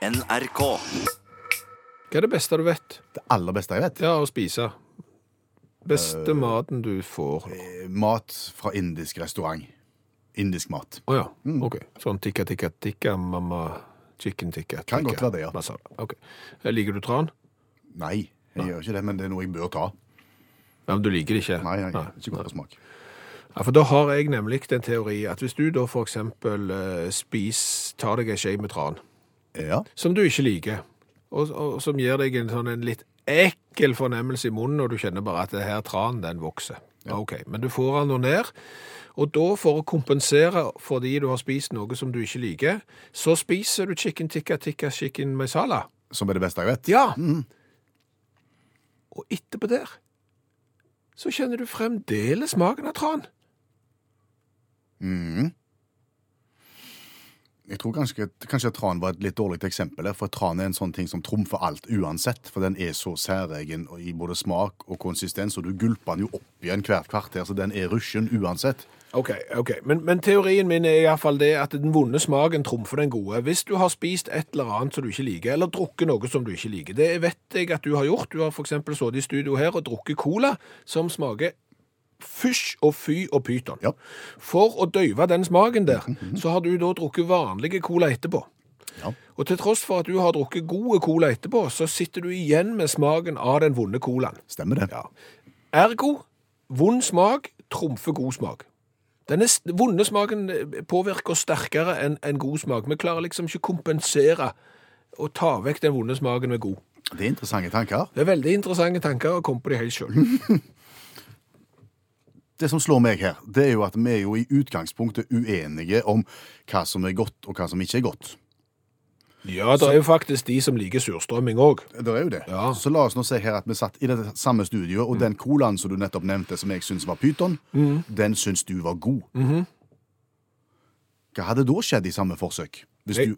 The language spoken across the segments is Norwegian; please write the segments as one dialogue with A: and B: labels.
A: NRK.
B: Hva er det beste du vet?
C: Det aller beste jeg vet.
B: Ja, å spise. Beste maten du får. Å
C: Eh, Mat fra indisk restaurant. Indisk mat.
B: ja,
C: mm.
B: ok. Sånn tikka, tikka, tikka, mamma, chicken, tikka, tikka.
C: Kan godt være det, ja.
B: Masala. Ok. Eh, Liker du tran?
C: Nei, jeg gjør ikke det, men det er noe jeg bør ta.
B: Ja, men du liker det ikke.
C: Nei, nei, ikke godt for smak.
B: Ja, for da har jeg nemlig den teori at hvis du da for eksempel eh, spis, tar deg en skje med tran,
C: Ja,
B: som du ikke liker, og, og som gir deg en sånn en litt ekkel fornemmelse i munnen, og du kjenner bare at det her tran, den vokser. Ok, men du får den nå ned, og da for å kompensere fordi du har spist noe som du ikke liker, så spiser du chicken tikka tikka chicken masala.
C: Som er det beste jeg vet.
B: Ja. Og etterpå der, så kjenner du fremdeles smaken av tran.
C: Mhm. Jeg tror kanskje, kanskje tran var et litt dårlig eksempel, her, for tran er en sånn ting som trumfer alt uansett. For den er så særegen og i både smak og konsistens, og du gulper den jo opp igjen hvert kvarter, så den er rushen uansett.
B: Ok, ok. Men, men teorien min er iallfall det at den vonde smaken trumfer den gode. Hvis du har spist et eller annet som du ikke liker, eller drukket noe som du ikke liker Det vet jeg at du har gjort. Du har f.eks. sittet i studio her og drukket cola som smaker fysj og fy og pyton.
C: Ja.
B: For å døyve den smaken der, så har du da drukket vanlige cola etterpå.
C: Ja.
B: Og til tross for at du har drukket gode cola etterpå, så sitter du igjen med smaken av den vonde colaen.
C: Stemmer det?
B: Ja. Ergo, vond smak trumfer god smak. Den s- vonde smaken eh, påvirker oss sterkere enn enn god smak. Vi klarer liksom ikke kompensere og ta vekk den vonde smaken med god.
C: Det er interessante tanker.
B: Det er veldig interessante tanker å komme på de helt sjøl.
C: det som slår meg her, det er jo at vi er jo i utgangspunktet uenige om hva som er godt, og hva som ikke er godt.
B: Ja, det er jo faktisk de som liker surstrømming òg.
C: Det er jo det.
B: Ja. Mm.
C: Så la oss nå se her at vi satt i det samme studioet, og den colaen som du nettopp nevnte, som jeg syns var pyton, den syns du var god.
B: Mm-hmm.
C: Hva hadde da skjedd i samme forsøk? Hvis
B: Jeg-
C: du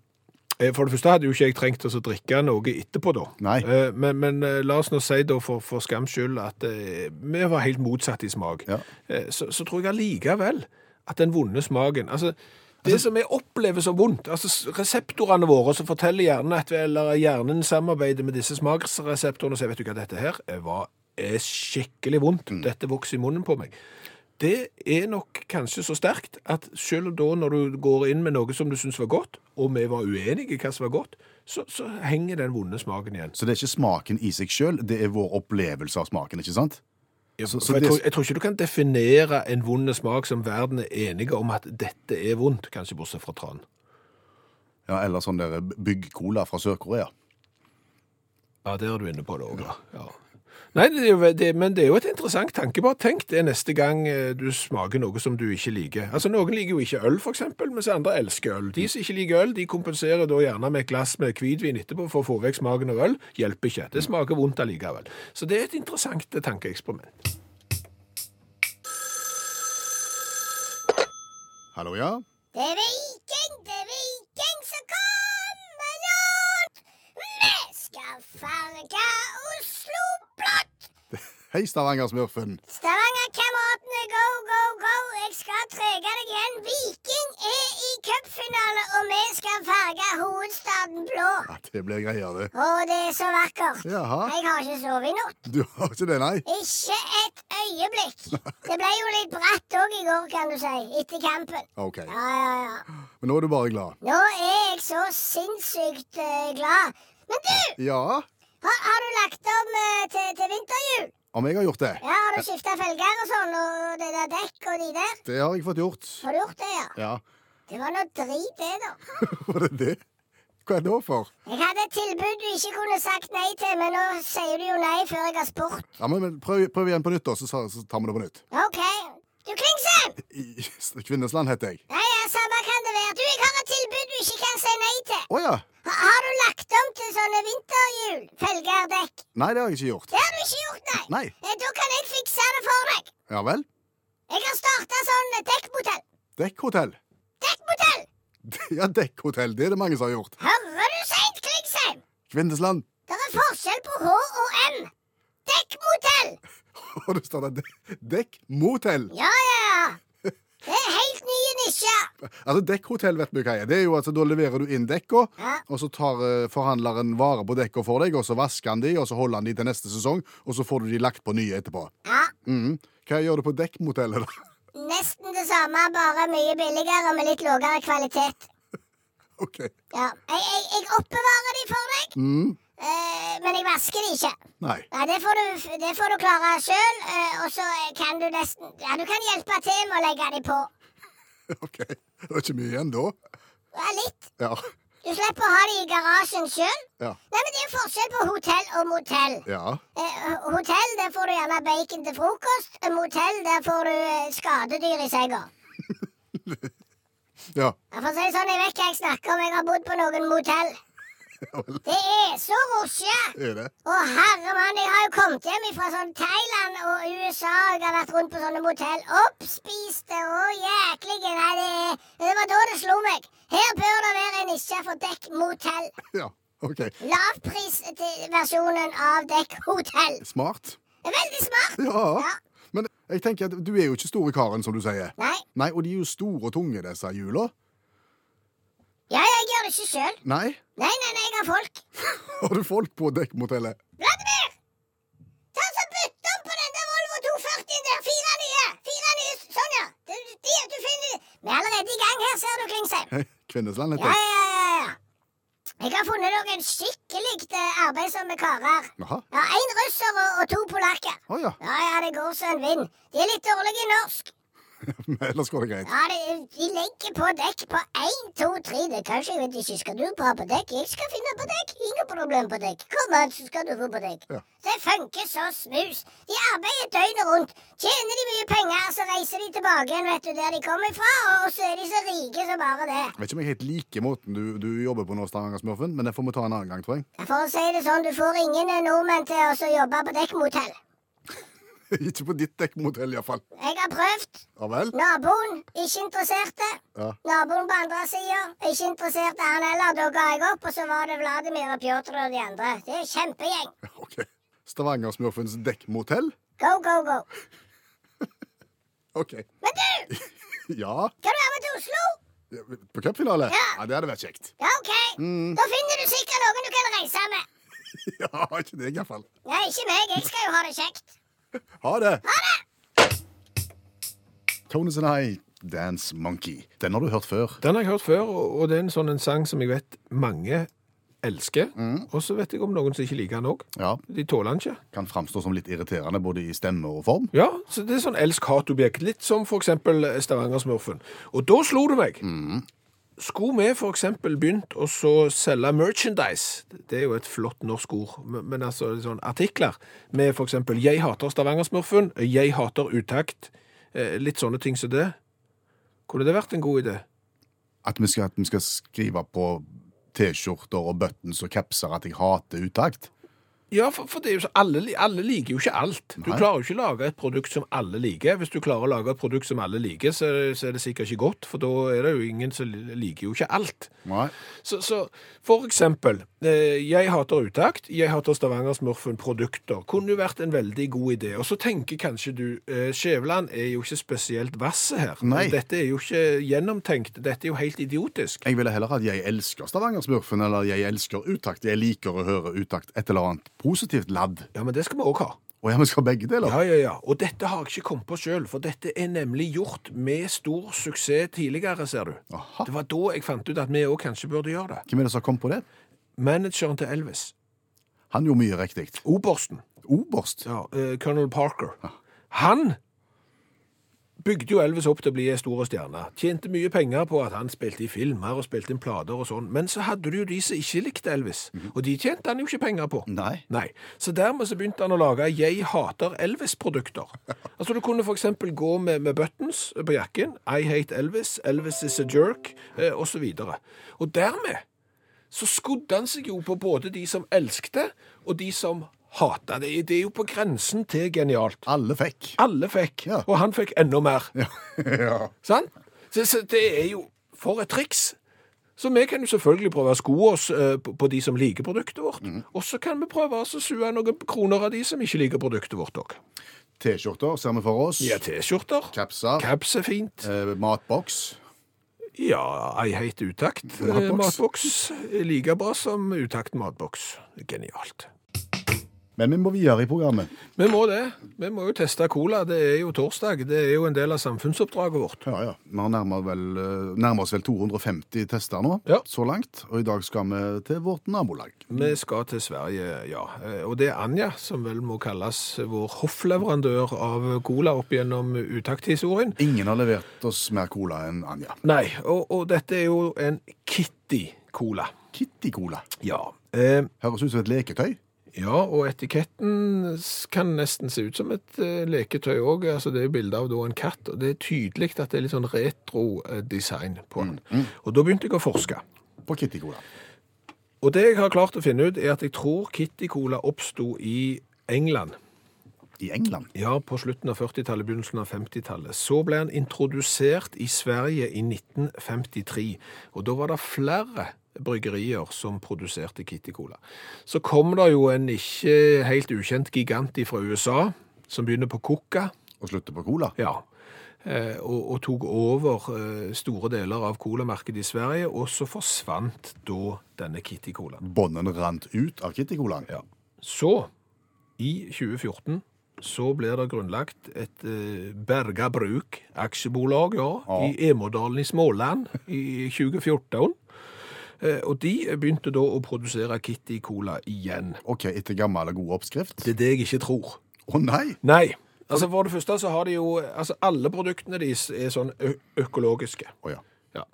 B: Eh, For det første hadde jo ikke jeg trengt oss å drikke noe etterpå, da.
C: Nei.
B: Eh, Men, men eh, la oss nå si, da, for, for skams skyld, at eh, vi var helt motsatt i smak.
C: Ja.
B: Eh, Så, så tror jeg allikevel at den vonde smaken Altså, det som vi opplever som vondt altså s- Reseptorene våre som forteller hjernen at vi, eller hjernen samarbeider med disse smaksreseptorene og sier 'Vet du hva, dette her eh, var er skikkelig vondt. Dette vokser i munnen på meg.' Det er nok kanskje så sterkt at selv da når du går inn med noe som du syns var godt, og vi var uenige i hva som var godt, så, så henger den vonde smaken igjen.
C: Så det er ikke smaken i seg sjøl, det er vår opplevelse av smaken, ikke sant? så- så
B: For jeg,
C: det-
B: tror, jeg tror ikke du kan definere en vond smak som verden er enige om at dette er vondt, kanskje bortsett fra tran.
C: Ja, Eller sånn der bygg-cola fra Sør-Korea.
B: Ja, der er du inne på det òg, ja. Nei, det er jo, det, men det er jo et interessant tanke. Bare tenk det neste gang eh, du smaker noe som du ikke liker. Altså, Noen liker jo ikke øl, for eksempel, mens andre elsker øl. De som ikke liker øl, de kompenserer da gjerne med et glass med hvitvin etterpå for å få vekk smaken av øl. Hjelper ikke. Det smaker vondt allikevel. Så det er et interessant eh, tankeeksperiment.
C: Hallo, ja?
D: Det er viking, det er viking som kommer nå! Vi skal farge Oslo blått!
C: Hei, Stavanger-smurfen.
D: Stavanger-kameratene, go, go, go! Jeg skal trege deg igjen. Viking er i cupfinale, og vi skal farge hovedstaden blå.
C: Ja, det blir greier, det.
D: Å, det er så vakkert.
C: Jaha.
D: Jeg har ikke sovet i natt.
C: Du har ikke det, nei?
D: Ikke et øyeblikk. Det ble jo litt bratt òg i går, kan du si. Etter kampen.
C: Ah, OK.
D: Ja, ja, ja.
C: Men nå er du bare glad.
D: Nå er jeg så sinnssykt eh, glad. Men du,
C: Ja?
D: har, har du lagt om eh, til, til vinterhjul?
C: Om jeg har gjort det?
D: Ja, Har du skifta felger og sånn, og det der dekk og de der?
C: Det har jeg fått gjort.
D: Har du gjort det, ja?
C: Ja.
D: Det var noe drit, det, da.
C: Var det det? Hva er det for?
D: Jeg hadde et tilbud du ikke kunne sagt nei til, men nå sier du jo nei før jeg har spurt.
C: Ja, men, men prøv, prøv igjen på nytt, da, så, sa- så tar vi det på nytt.
D: OK. Du, Klingsheim!
C: I, Kvinnesland heter jeg.
D: Nei, ja, samme kan det være. Du, jeg har et tilbud du ikke kan si nei til.
C: Å ja.
D: Ha, har du lagt om til sånne vinterhjul? Felger, dekk?
C: Nei, det har jeg ikke gjort.
D: Det har du ikke gjort, nei.
C: Nei.
D: Eh, Da kan jeg fikse det for deg.
C: Ja vel?
D: Jeg har starta sånn dekkmotell.
C: Dekkhotell.
D: Dekkmotell!
C: Ja, dekkhotell. Det er det mange som har gjort.
D: Hører du seint, Klingsheim?
C: Kvinnesland.
D: Det er forskjell på H og M. Dekkmotell!
C: Og det står der de- dekkmotell.
D: Ja, ja, ja. Det er helt nye nisjer.
C: Altså Dekkhotell vet vi hva er. Det er jo altså, Da leverer du inn dekka, og så tar eh, forhandleren vare på dekka for deg, og så vasker han de, og så holder han de til neste sesong, og så får du de lagt på nye etterpå.
D: Ja,
C: Mhm. Hva gjør du på dekkmotellet, da?
D: nesten det samme, bare mye billigere og med litt lavere kvalitet.
C: OK.
D: Ja, jeg, jeg, jeg oppbevarer de for deg,
C: Mhm.
D: eh, men jeg vasker de ikke.
C: Nei.
D: Nei, det får du, det får du klare sjøl, og så kan du nesten Ja, du kan hjelpe til med å legge de på.
C: OK. Det var ikke mye igjen da.
D: Ja, litt.
C: Ja.
D: Du slipper å ha de i garasjen sjøl.
C: Ja.
D: Nei, men det er jo forskjell på hotell og motell.
C: ja.
D: Eh, ho- hotell, der får du gjerne bacon til frokost. Eh, Motell, der får du eh, skadedyr i senga.
C: Ja.
D: Ja, For å si det sånn, jeg vet hva jeg snakker om. Jeg har bodd på noen motell. Det er så rosje!
C: Er det?
D: Å, herre mann, jeg har jo kommet hjem fra sånn Thailand og USA. og Jeg har vært rundt på sånne motell. Oppspiste og jæklige Nei, det, er- det var da det slo meg. Her bør det være en nisje for dekkmotell.
C: Ja. OK.
D: Lavprisversjonen av dekkhotell.
C: Smart.
D: Veldig smart.
C: Ja.
D: Ja.
C: Men jeg tenker at du er jo ikke store karen, som du sier.
D: Nei.
C: Nei, og de er jo store og tunge, disse hjula.
D: Ja, ja, jeg gjør det ikke sjøl.
C: Nei.
D: Nei, nei, nei, jeg har folk.
C: Har du folk på dekkmotellet?
D: Vladimir! Ta så Bytt om på den der Volvo 240 der. Fire nye. Fire nye. Sånn, ja. Du, de, du finner Vi er allerede i gang her, ser du, Klingsheim.
C: Hei, Kvinnesland heter
D: Ja,
C: det.
D: ja, ja. ja. Jeg har funnet noen skikkelig eh, arbeidsomme karer.
C: Jaha.
D: Ja, Én russer og, og to polakker.
C: Å ja.
D: Ja, ja, det går så en vind. De er litt dårlige i norsk.
C: Men ellers går det greit.
D: Ja, de, de legger på dekk på én, to, tre. Det kan ikke jeg vet ikke. Skal du på på dekk? Jeg skal finne på dekk. Ingen problem på dekk. Kom an, så skal du få på dekk.
C: Ja.
D: Det funker så smus. De arbeider døgnet rundt. Tjener de mye penger, så reiser de tilbake igjen, vet du, der de kommer fra. Og så er de så rike som bare det.
C: Jeg vet ikke om jeg helt liker måten du, du jobber på nå, Stavanger-smurfen, men det får vi ta en annen gang, tror jeg.
D: For å si det sånn, du får ingen eh, nordmenn til å så jobbe på dekkmotell.
C: ikke på ditt dekkmotell, iallfall.
D: Jeg har prøvd.
C: Ja vel?
D: Naboen, ikke interesserte.
C: Ja.
D: Naboen på andre sida, ikke interessert i han heller. Da ga jeg opp, og så var det Vladimir og Pjotr og de andre. Det er kjempegjeng.
C: OK. Stavanger-smurfens dekkmotell?
D: Go, go, go.
C: OK.
D: Men du,
C: Ja.
D: kan du være med til Oslo?
C: På cupfinale?
D: Ja.
C: ja. Det hadde vært kjekt.
D: Ja, OK. Da finner du sikkert noen du kan reise med.
C: Ja, ikke deg, iallfall.
D: Nei, ikke meg. Jeg skal jo ha det kjekt.
C: Ha det! Tones and I, Dance Monkey. Den har du hørt før.
B: Den har jeg hørt før, og og det er en sånn en sang som jeg vet mange elsker. Og så vet jeg om noen som ikke liker den òg.
C: Ja,
B: De tåler den ikke.
C: Kan framstå som litt irriterende både i stemme og form.
B: Ja, så det er sånn elsk-hat-objekt. Litt som for eksempel Stavanger-smurfen. Og da slo det meg. Skulle vi for eksempel begynt å så selge merchandise, det er jo et flott norsk ord, men men altså sånn artikler med for eksempel 'Jeg hater Stavanger-smurfen', 'Jeg hater utakt', eh, litt sånne ting som det. Kunne det vært en god idé?
C: At vi skal, at vi skal skrive på T-skjorter og buttons og capser at jeg hater utakt.
B: Ja, for, for det er jo så, alle, alle liker jo ikke alt. Du
C: Nei.
B: klarer jo ikke å lage et produkt som alle liker. Hvis du klarer å lage et produkt som alle liker, så, så er det sikkert ikke godt, for da er det jo ingen som li- liker jo ikke alt.
C: Nei.
B: Så, så for eksempel, eh, jeg hater utakt, jeg hater Stavanger-smurfen produkter. Kunne jo vært en veldig god idé. Og så tenker kanskje du, eh, Skjæveland er jo ikke spesielt vasse her.
C: Nei.
B: Dette er jo ikke gjennomtenkt, dette er jo helt idiotisk.
C: Jeg ville heller at jeg elsker Stavanger-smurfen eller jeg elsker utakt. Jeg liker å høre utakt et eller annet positivt ladd.
B: Ja, men det skal vi også ha.
C: Og ja, vi skal ha begge deler.
B: Ja, ja, ja. Og dette har jeg ikke kommet på sjøl, for dette er nemlig gjort med stor suksess tidligere, ser du.
C: Aha.
B: Det var da jeg fant ut at vi òg kanskje burde gjøre det.
C: Hvem er det som kom på det?
B: Manageren til Elvis,
C: Han gjorde mye riktig.
B: obersten,
C: Oberst.
B: ja, eh, Colonel Parker, han bygde jo Elvis opp til å bli en stor stjerne. Tjente mye penger på at han spilte i filmer og spilte inn plater og sånn. Men så hadde du jo de som ikke likte Elvis, og de tjente han jo ikke penger på.
C: Nei.
B: Nei. Så dermed så begynte han å lage 'Jeg hater Elvis'-produkter. Altså Du kunne f.eks. gå med, med buttons på jakken. 'I hate Elvis', 'Elvis is a jerk', eh, osv. Og, og dermed så skodde han seg jo på både de som elskte, og de som hata det. Det er jo på grensen til genialt.
C: Alle fikk.
B: Alle fikk,
C: Ja.
B: og han fikk enda mer.
C: Ja.
B: Sant? Så, så det er jo For et triks! Så vi kan jo selvfølgelig prøve å sko oss eh, på på de som liker produktet vårt.
C: Mm.
B: Og så kan vi prøve å sue noen kroner av de som ikke liker produktet vårt òg.
C: T-skjorter ser vi for oss.
B: Ja, T-skjorter.
C: Kapser.
B: Caps er fint.
C: Eh, matboks.
B: Ja, ei heit utakt. eh,
C: Matboks.
B: Matboks. Like bra som utakt matboks. Genialt.
C: Men vi må videre i programmet.
B: Vi må det. Vi må jo teste cola. Det er jo torsdag. Det er jo en del av samfunnsoppdraget vårt.
C: Ja, ja. Vi har nærmer, vel, eh, nærmer oss vel 250 tester nå,
B: Ja.
C: så langt. Og i dag skal vi til vårt nabolag.
B: Vi skal til Sverige, ja. Eh, Og det er Anja, som vel må kalles vår hoffleverandør av cola opp gjennom utakthistorien.
C: Ingen har levert oss mer cola enn Anja.
B: Nei, og, og dette er jo en Kitty-cola.
C: Kitty-cola.
B: Ja. Eh,
C: Høres ut som et leketøy.
B: ja, og etiketten s- kan nesten se ut som et eh, leketøy òg. Altså, det er jo bilde av da en katt, og det er tydelig at det er litt sånn retro-design på den. Og da begynte jeg å forske.
C: På Kitty-cola.
B: Og det jeg har klart å finne ut, er at jeg tror Kitty Cola oppsto i England.
C: I England.
B: Ja, på slutten av 40-tallet, begynnelsen av 50-tallet. Så ble han introdusert i Sverige i 1953, og da var det flere bryggerier som produserte Kitty Cola. Så kom det jo en ikke helt ukjent gigant fra USA, som begynner på Coca.
C: Og slutter på cola.
B: Ja. Eh, Og, og tok over eh, store deler av colamarkedet i Sverige, og så forsvant da denne Kitty Cola.
C: Bånden rant ut av Kitty-colaen.
B: Ja. Så, i 2014, så blir det grunnlagt et eh, Berga Bruk aksjebolag, ja, i Emodalen i Småland i 2014. Eh, og de begynte da å produsere Kitty Cola igjen.
C: OK, etter gammel og god oppskrift.
B: Det er det jeg ikke tror.
C: Å nei!
B: Nei. Altså For det første så har de jo Altså alle produktene deres er sånn ø økologiske.
C: Å ja.
B: Ja.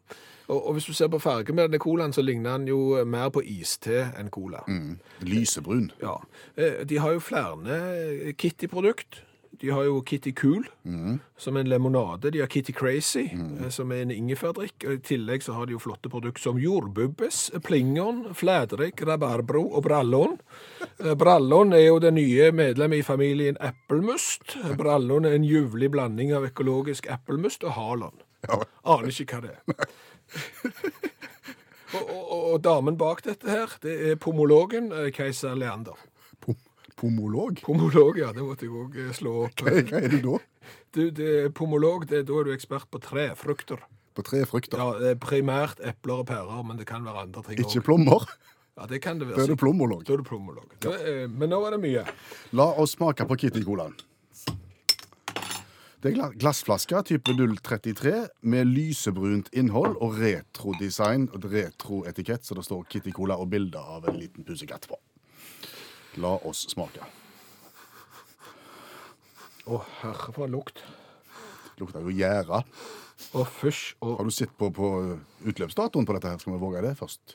B: Og, og hvis du ser på fargen med denne colaen, så ligner den jo mer på iste enn cola.
C: Mm. Lysebrun.
B: Ja. Eh, De har jo flere eh, Kitty-produkt. De har jo Kitty Cool, som er en lemonade. De har Kitty Crazy, eh, som er en ingefærdrikk. Og I tillegg så har de jo flotte produkter som jordbubbes, eh, plingon, flædrikk, rabarbro og brallon. Eh, Brallon er jo det nye medlemmet i familien eplmust. Brallon er en juvlig blanding av økologisk eplmust og halon.
C: Ja.
B: Aner ikke hva det er. Og, og, og- og damen bak dette her, det er pomologen eh, Keiser Leander.
C: Pom pomolog?
B: Pomolog, ja, det måtte jeg òg slå opp.
C: Hva er du da?
B: Du, det er pomolog, det, da er du ekspert på trefrukter.
C: På tre frukter.
B: Ja, eh, primært epler og pærer, men det kan være andre ting
C: Ikke
B: òg.
C: plommer.
B: Ja, det kan det
C: Da
B: være.
C: er du
B: sikkert.
C: plommolog.
B: Da er du pomolog. Da, eh, Men nå var det mye.
C: La oss smake på Kitty-colaen. Det er gla- glassflaske type 033 med lysebrunt innhold og retrodesign og et retroetikett, så det står Kitty Cola og bilde av en liten pusekatt på. La oss smake.
B: Å, herre for en lukt.
C: Lukter jo gjære.
B: Og fysj og
C: Har du sett på, på utløpsdatoen på dette? her? Skal vi våge det først?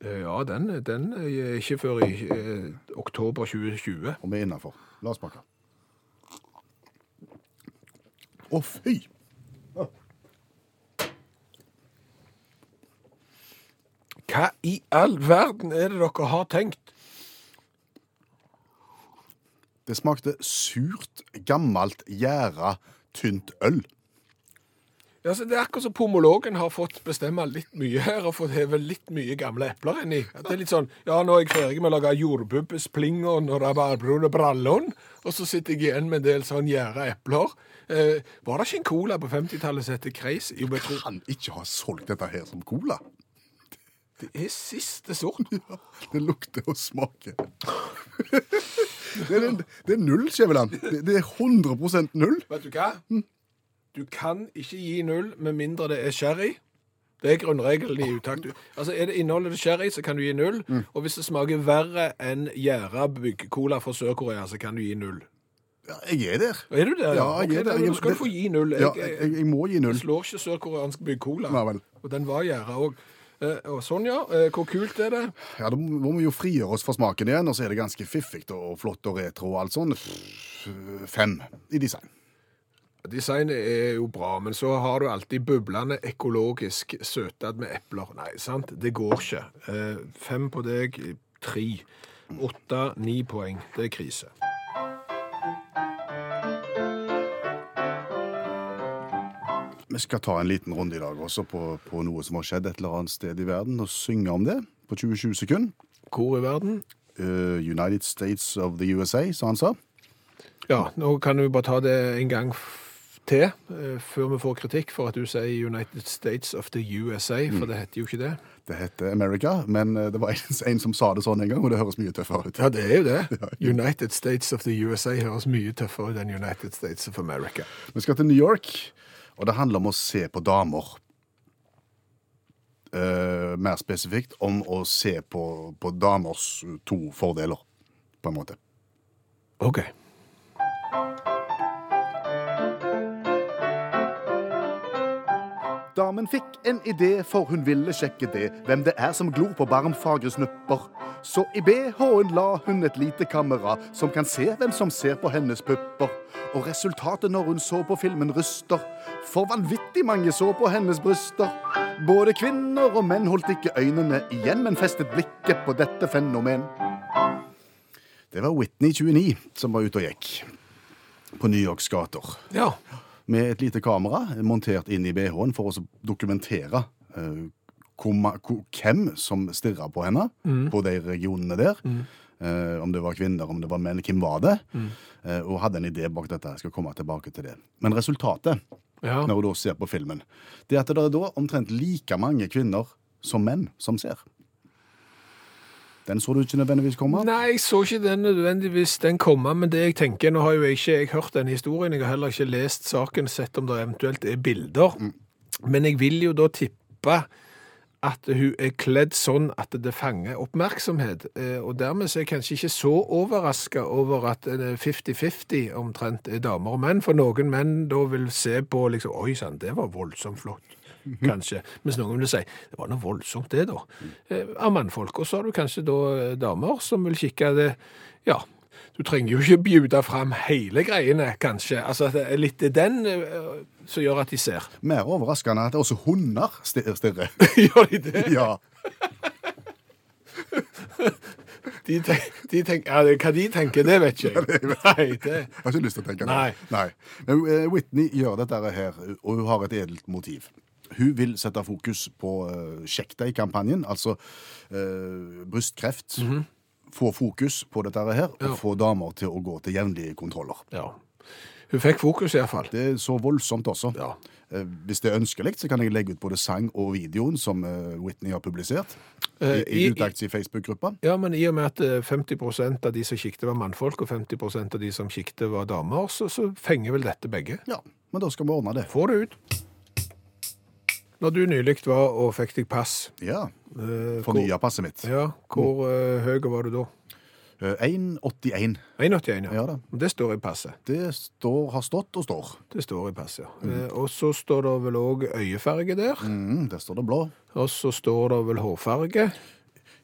B: eh, Ja, den, den er ikke før i eh, oktober 2020.
C: Og vi er innafor. La oss smake. Å, fy!
B: Hva i all verden er det dere har tenkt?
C: Det smakte surt, gammelt, gjæra, tynt øl.
B: Ja, så det er akkurat som pomologen har fått bestemme litt mye her, og fått heve litt mye gamle epler inni. At Det er litt sånn Ja, nå er jeg ferdig med å lage jordbubbes, plingon og rabarbrun og brallon, og så sitter jeg igjen med en del sånn gjæra epler. Eh, var det ikke en cola på 50-tallet som het Crazy? Jo, men jeg tror
C: kan ikke ha solgt dette her som cola.
B: det er siste sort.
C: Ja, det lukter og smaker. Det er, det er null, Skjæveland. Det, det er 100 null.
B: Vet du hva? Du kan ikke gi null med mindre det er sherry. Det er grunnregelen i utakt. Altså, er det innholdet det sherry, så kan du gi null.
C: Mm.
B: Og hvis det smaker verre enn gjæra byggecola fra Sør-Korea, så kan du gi null.
C: Ja, jeg er der.
B: Er du der?
C: Ja, jeg
B: Ok,
C: er der.
B: da-
C: Jeg-
B: Da skal du få gi null.
C: Ja,
B: Jeg,
C: jeg,
B: jeg,
C: jeg må gi null.
B: slår ikke sørkoreansk byggecola.
C: Nei vel.
B: Og den var gjæra òg. Og sånn, ja. Eh, Hvor kult er det?
C: Ja, Da må vi jo frigjøre oss fra smaken igjen, og så er det ganske fiffig og flott og retro og alt sånn. Pff, Fem i design.
B: Designet er jo bra, men så har du alltid bublende økologisk søtad med epler. Nei, sant? Det går ikke. Eh, fem på deg, tre. Åtte, ni poeng. Det er krise.
C: Vi skal ta en liten runde i dag også på, på noe som har skjedd et eller annet sted i verden, og synge om det på 20-20 sekunder.
B: Hvor i verden?
C: Eh, United States of the USA, sa han sa.
B: Ja, nå kan vi bare ta det en gang f- til, eh, før vi får kritikk for at du sier United States of the USA, for det heter jo ikke det.
C: Det heter America, men eh, det var en, en som sa det sånn en gang, og det høres mye tøffere ut.
B: Ja, det er jo det. United States of the USA høres mye tøffere ut enn United States of America.
C: Vi skal til New York, og det handler om å se på damer. Eh, mer spesifikt om å se på, på damers to fordeler, på en måte.
B: Ok.
C: Damen fikk en idé, for hun ville sjekke det, hvem det er som glor på barmfagre snupper. Så i BH-en la hun et lite kamera, som kan se hvem som ser på hennes pupper. Og resultatet når hun så på filmen ryster, for vanvittig mange så på hennes bryster. Både kvinner og menn holdt ikke øynene igjen, men festet blikket på dette fenomen. Det var Whitney 29 som var ute og gikk på New Yorks gater
B: Ja.
C: med et lite kamera montert inn i BH-en for å så dokumentere eh, hvor ma- hvor- hvem som stirra på henne
B: Mm.
C: på de regionene der. Eh, om det var kvinner, om det var menn, hvem var det?
B: Mm.
C: Eh, og hadde en idé bak dette. Jeg skal komme tilbake til det. Men resultatet,
B: Ja.
C: når hun da ser på filmen, det er at det er da omtrent like mange kvinner som menn som ser. Den så du ikke nødvendigvis komme.
B: Nei, jeg så ikke den nødvendigvis den komme, men det jeg tenker, nå har jo jeg ikke jeg hørt den historien, jeg har heller ikke lest saken, sett om det eventuelt er bilder, men jeg vil jo da tippe at hun er kledd sånn at det fanger oppmerksomhet, Eh, og dermed så er jeg kanskje ikke så overrasket over at eh, 50-50 omtrent er damer og menn, for noen menn da vil se på liksom, oi sann, det var voldsomt flott. Kanskje. Mens noen vil si det var noe voldsomt, det, da. Eh, Av mannfolk. Og så har du kanskje da eh, damer som vil kikke det Ja, du trenger jo ikke bjuda fram hele greiene, kanskje. Altså at det er litt den eh, som gjør at de ser.
C: Mer overraskende er at også hunder stir- stirrer.
B: gjør de det?
C: ja.
B: De, tenk, de tenk, ja, det- hva de tenker, det vet ikke jeg. Nei, det
C: Jeg har ikke lyst til å tenke det.
B: Nei.
C: Men eh, Whitney gjør dette her, eh, og hun har et edelt motiv. Hun vil sette fokus på eh, Sjekk deg-kampanjen, altså eh, brystkreft. Få fokus på dette her, og
B: Mhm. Ja.
C: få damer til å gå til jevnlige kontroller.
B: Ja. Hun fikk fokus, iallfall.
C: Det er så voldsomt også.
B: Ja.
C: Eh, Hvis det er ønskelig, så kan jeg legge ut både sang og videoen som eh, Whitney har publisert. I,
B: Eh,
C: i
B: i-
C: utakts i Facebook-gruppa.
B: Ja, men i og med at eh, 50 av de som kikket, var mannfolk, og 50 av de som kikket, var damer, så, så fenger vel dette begge.
C: Ja, men da skal vi ordne det.
B: Få det ut. Når du nylig var og fikk deg pass
C: Ja,
B: eh,
C: Fornya passet mitt.
B: Hvor, ja, hvor eh, høy var du da?
C: Eh, 1,81.
B: 1,81, ja.
C: Ja da.
B: Det står i passet.
C: Det står, har stått og står.
B: Det står i passet, ja. Eh, og så står det vel òg øyefarge der.
C: Mm, der står det blå.
B: Og så står det vel hårfarge.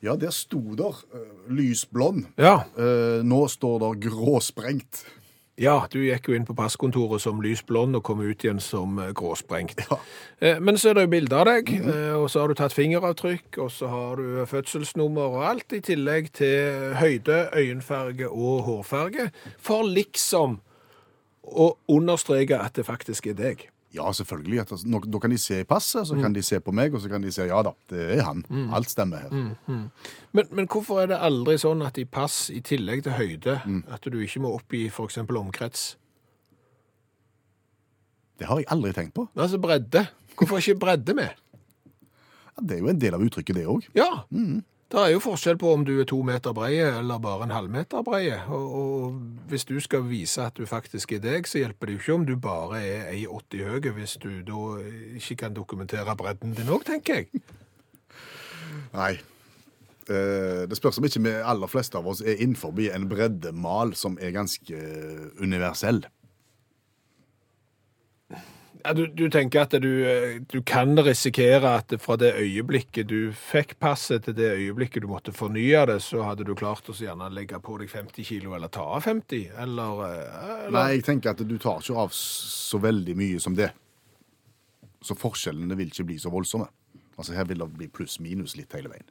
C: Ja, der sto der eh, lysblond.
B: Ja.
C: Eh, nå står der gråsprengt.
B: ja, du gikk jo inn på passkontoret som lys blond og kom ut igjen som eh, gråsprengt.
C: Ja.
B: Eh, Men så er det jo bilde av deg, eh, og så har du tatt fingeravtrykk, og så har du fødselsnummer og alt, i tillegg til høyde, øyenfarge og hårfarge, for liksom å understreke at det faktisk er deg.
C: Ja, selvfølgelig. at- altså, Nå, nå kan de se i passet, så kan de se på meg, og så kan de se ja da, det er han. Alt stemmer her.
B: Men, men hvorfor er det aldri sånn at i pass, i tillegg til høyde, at du ikke må oppgi f.eks. omkrets?
C: Det har jeg aldri tenkt på.
B: Altså bredde. Hvorfor er ikke bredde med?
C: Ja, det er jo en del av uttrykket, det òg.
B: Ja. Det er jo forskjell på om du er to meter breie eller bare en halvmeter breie. Og, og hvis du skal vise at du faktisk er deg, så hjelper det jo ikke om du bare er 1,80 høy, hvis du da ikke kan dokumentere bredden din òg, tenker jeg.
C: Nei. Eh, det spørs om ikke vi aller fleste av oss er innenfor en breddemal som er ganske eh, universell.
B: Ja, du, du tenker at du, eh, du kan risikere at fra det øyeblikket du fikk passet, til det øyeblikket du måtte fornye det, så hadde du klart å så gjerne legge på deg 50 kilo, eller ta av 50, eller, eh, eller
C: Nei, jeg tenker at du tar ikke av så veldig mye som det. Så forskjellene vil ikke bli så voldsomme. Altså Her vil det bli pluss-minus litt hele veien.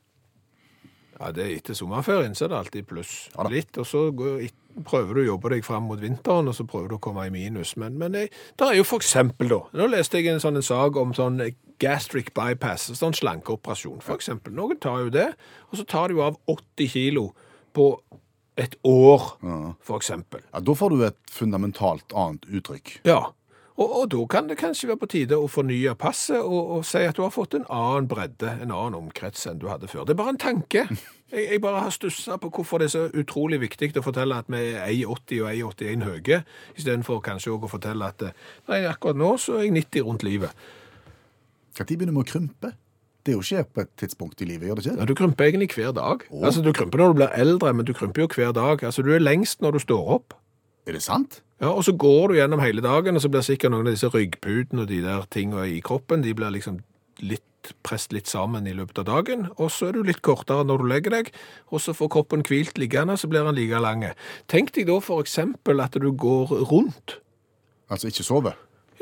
B: Ja, det er etter sommerferien, så er det alltid pluss
C: Ja da.
B: litt. Og så går, et- prøver du å jobbe deg fram mot vinteren, og så prøver du å komme i minus. Men, men jeg, der er jo for eksempel, da Nå leste jeg en sånn en sak om sånn gastric bypass, sånn slankeoperasjon, for eksempel. Noen tar jo det, og så tar de jo av 80 kilo på et år, for eksempel.
C: Ja, Da får du et fundamentalt annet uttrykk.
B: Ja. Og, og da kan det kanskje være på tide å fornye passet og, og si at du har fått en annen bredde, en annen omkrets enn du hadde før. Det er bare en tanke. Jeg, jeg bare har stussa på hvorfor det er så utrolig viktig å fortelle at vi er 1,80 og 1,81 høye, istedenfor kanskje òg å fortelle at eh, nei, akkurat nå så er jeg 90 rundt livet.
C: Når begynner vi å krympe? Det er jo ikke på et tidspunkt i livet, gjør det
B: Ja,
C: ikke?
B: du krymper egentlig hver dag. Altså, Du krymper når du blir eldre, men du krymper jo hver dag. Altså, Du er lengst når du står opp.
C: Er det sant?
B: Ja, og så går du gjennom hele dagen, og så blir sikkert noen av disse ryggputene og de der tingene i kroppen, de blir liksom litt presset litt sammen i løpet av dagen, og så er du litt kortere når du legger deg, og så får kroppen hvilt liggende, så blir den like lange. Tenk deg da for eksempel at du går rundt,
C: Altså ikke sove?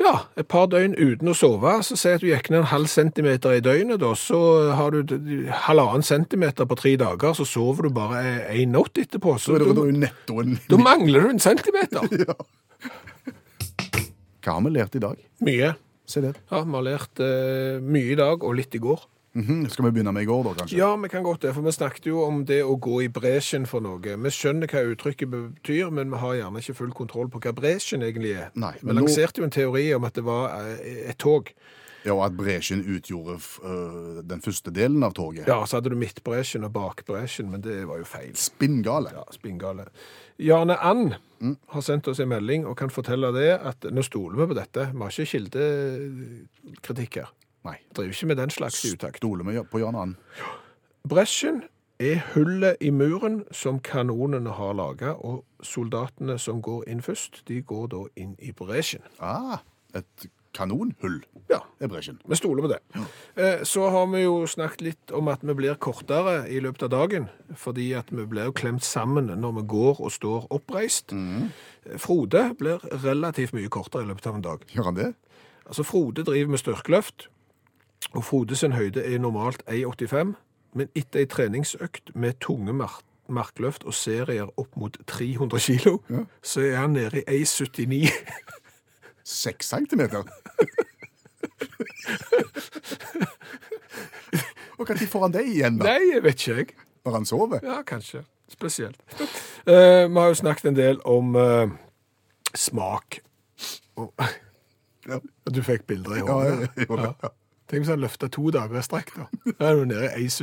B: ja, et par døgn uten å sove, så si at du gikk ned en halv centimeter i døgnet, da, så har du d- halvannen centimeter på tre dager, så sover du bare e, en natt etterpå, så
C: Da er det da
B: da,
C: er jo nettoen
B: da mangler du en centimeter.
C: Hva har vi lært i dag?
B: Mye.
C: Se det.
B: Ja, vi har lært eh, mye i dag, og litt i går.
C: Mhm, Skal vi begynne med i går, da, kanskje?
B: Ja, vi kan godt det, for vi snakket jo om det å gå i bresjen for noe. Vi skjønner hva uttrykket betyr, men vi har gjerne ikke full kontroll på hva bresjen egentlig er.
C: Nei,
B: vi
C: men nå-
B: lanserte jo en teori om at det var eh, et tog.
C: Ja, og at bresjen utgjorde f- øh, den første delen av toget.
B: Ja, så hadde du midtbresjen og bakbresjen, men det var jo feil.
C: Spinngale.
B: Ja, spinngale. Jarne And
C: Mm.
B: har sendt oss en melding og kan fortelle det at nå stoler vi på dette. Vi har ikke kildekritikk her.
C: Nei.
B: Driver ikke med den slags i utakt.
C: Stoler vi på Jan Ann?
B: Bresjen er hullet i muren som kanonene har laga, og soldatene som går inn først, de går da inn i bresjen.
C: Ah, et kanonhull
B: Ja,
C: er bresjen.
B: vi stoler på det. Eh, Så har vi jo snakket litt om at vi blir kortere i løpet av dagen, fordi at vi blir jo klemt sammen når vi går og står oppreist. Frode blir relativt mye kortere i løpet av en dag.
C: Gjør han det?
B: Altså, Frode driver med styrkeløft, og Frode sin høyde er normalt 1,85, men etter ei treningsøkt med tunge mar markløft og serier opp mot 300 kilo, så er han nede i 1,79.
C: Seks centimeter? og når får han det igjen, da?
B: Nei, jeg vet ikke jeg.
C: Når han sover?
B: Ja, kanskje. Spesielt. Eh, vi har jo snakket en del om eh, smak. Og,
C: Ja.
B: du fikk bilder i
C: Ja,
B: hånda.
C: jeg gjorde det, ja.
B: Tenk hvis han løfta to dager i strekk, da. Da er du nede i 1,73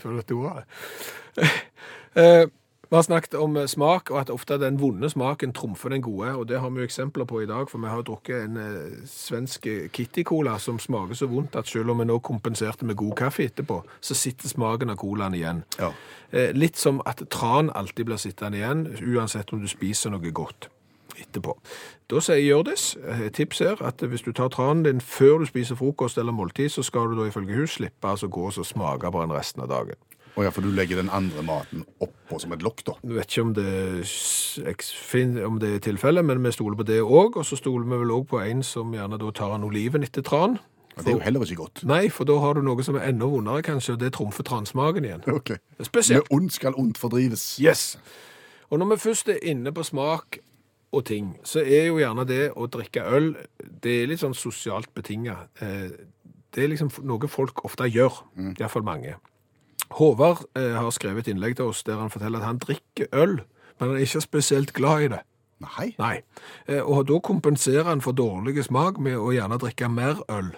B: før du vet ordet av det. Eh, Vi har snakket om eh, smak, og at ofte den vonde smaken trumfer den gode. og Det har vi jo eksempler på i dag, for vi har drukket en eh, svensk eh, Kitty-cola som smaker så vondt at selv om vi nå kompenserte med god kaffe etterpå, så sitter smaken av colaen igjen.
C: Ja.
B: Eh, Litt som at tran alltid blir sittende igjen, uansett om du spiser noe godt etterpå. Da sier Hjørdis, eh, tips her, at hvis du tar tranen din før du spiser frokost eller måltid, så skal du da ifølge hus slippe altså gå og så smake på den resten av dagen.
C: Å ja, for du legger den andre maten oppå som et lokk, da.
B: Jeg vet ikke om det, s- eks- fin- om det er tilfellet, men vi stoler på det òg. Og så stoler vi vel òg på en som gjerne da tar en oliven etter tran.
C: Ja, det er jo heller ikke godt.
B: Nei, for da har du noe som er enda vondere, kanskje, og det trumfer transmaken igjen.
C: Ok.
B: Spesielt.
C: Med ondt skal ondt fordrives.
B: Yes. Og når vi først er inne på smak og ting, så er jo gjerne det å drikke øl, det er litt sånn sosialt betinget. Eh, Det er liksom noe folk ofte gjør, i hvert fall mange. Håvard eh, har skrevet et innlegg til oss der han forteller at han drikker øl, men han er ikke spesielt glad i det.
C: Nei.
B: Nei. Eh, Og da kompenserer han for dårlig smak med å gjerne drikke mer øl.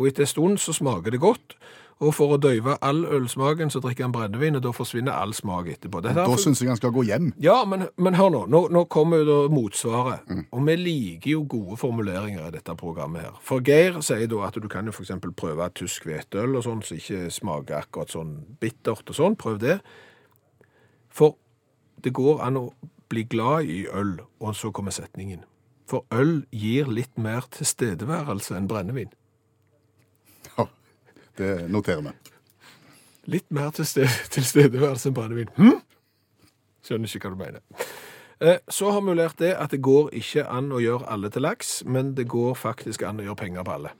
B: Og etter en stund så smaker det godt, og for å døyve all ølsmaken så drikker han brennevin, og da forsvinner all smak etterpå. Dette er
C: Da
B: for-
C: syns jeg han skal gå hjem.
B: ja, men, men hør nå. Nå, nå kommer jo da motsvaret. Og vi liker jo gode formuleringer i dette programmet her. For Geir sier da at du kan jo f.eks. prøve tysk hvetøl og sånn, som ikke smaker akkurat sånn bittert og sånn. Prøv det. For det går an å bli glad i øl, og så kommer setningen. For øl gir litt mer tilstedeværelse enn brennevin.
C: Ja, det noterer vi.
B: Litt mer til ste- tilstedeværelse enn brennevin. Hm? Skjønner ikke hva du mener. Eh, Så har vi jo lært det at det går ikke an å gjøre alle til laks, men det går faktisk an å gjøre penger på alle.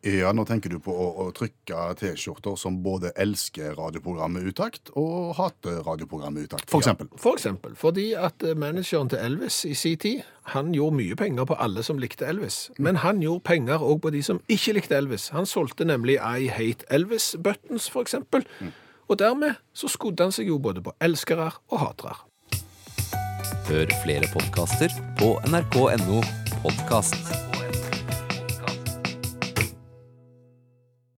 C: Ja, nå tenker du på å, å trykke T-skjorter som både elsker radioprogrammet Utakt og hater radioprogrammet Utakt, for eksempel.
B: For eksempel fordi at eh, manageren til Elvis i sin tid, han gjorde mye penger på alle som likte Elvis. Men han gjorde penger òg på de som ikke likte Elvis. Han solgte nemlig I Hate Elvis Buttons, for eksempel.
C: Mm.
B: Og dermed så skodde han seg jo både på elskere og hatere.
A: Hør flere podkaster på nrk.no podkast.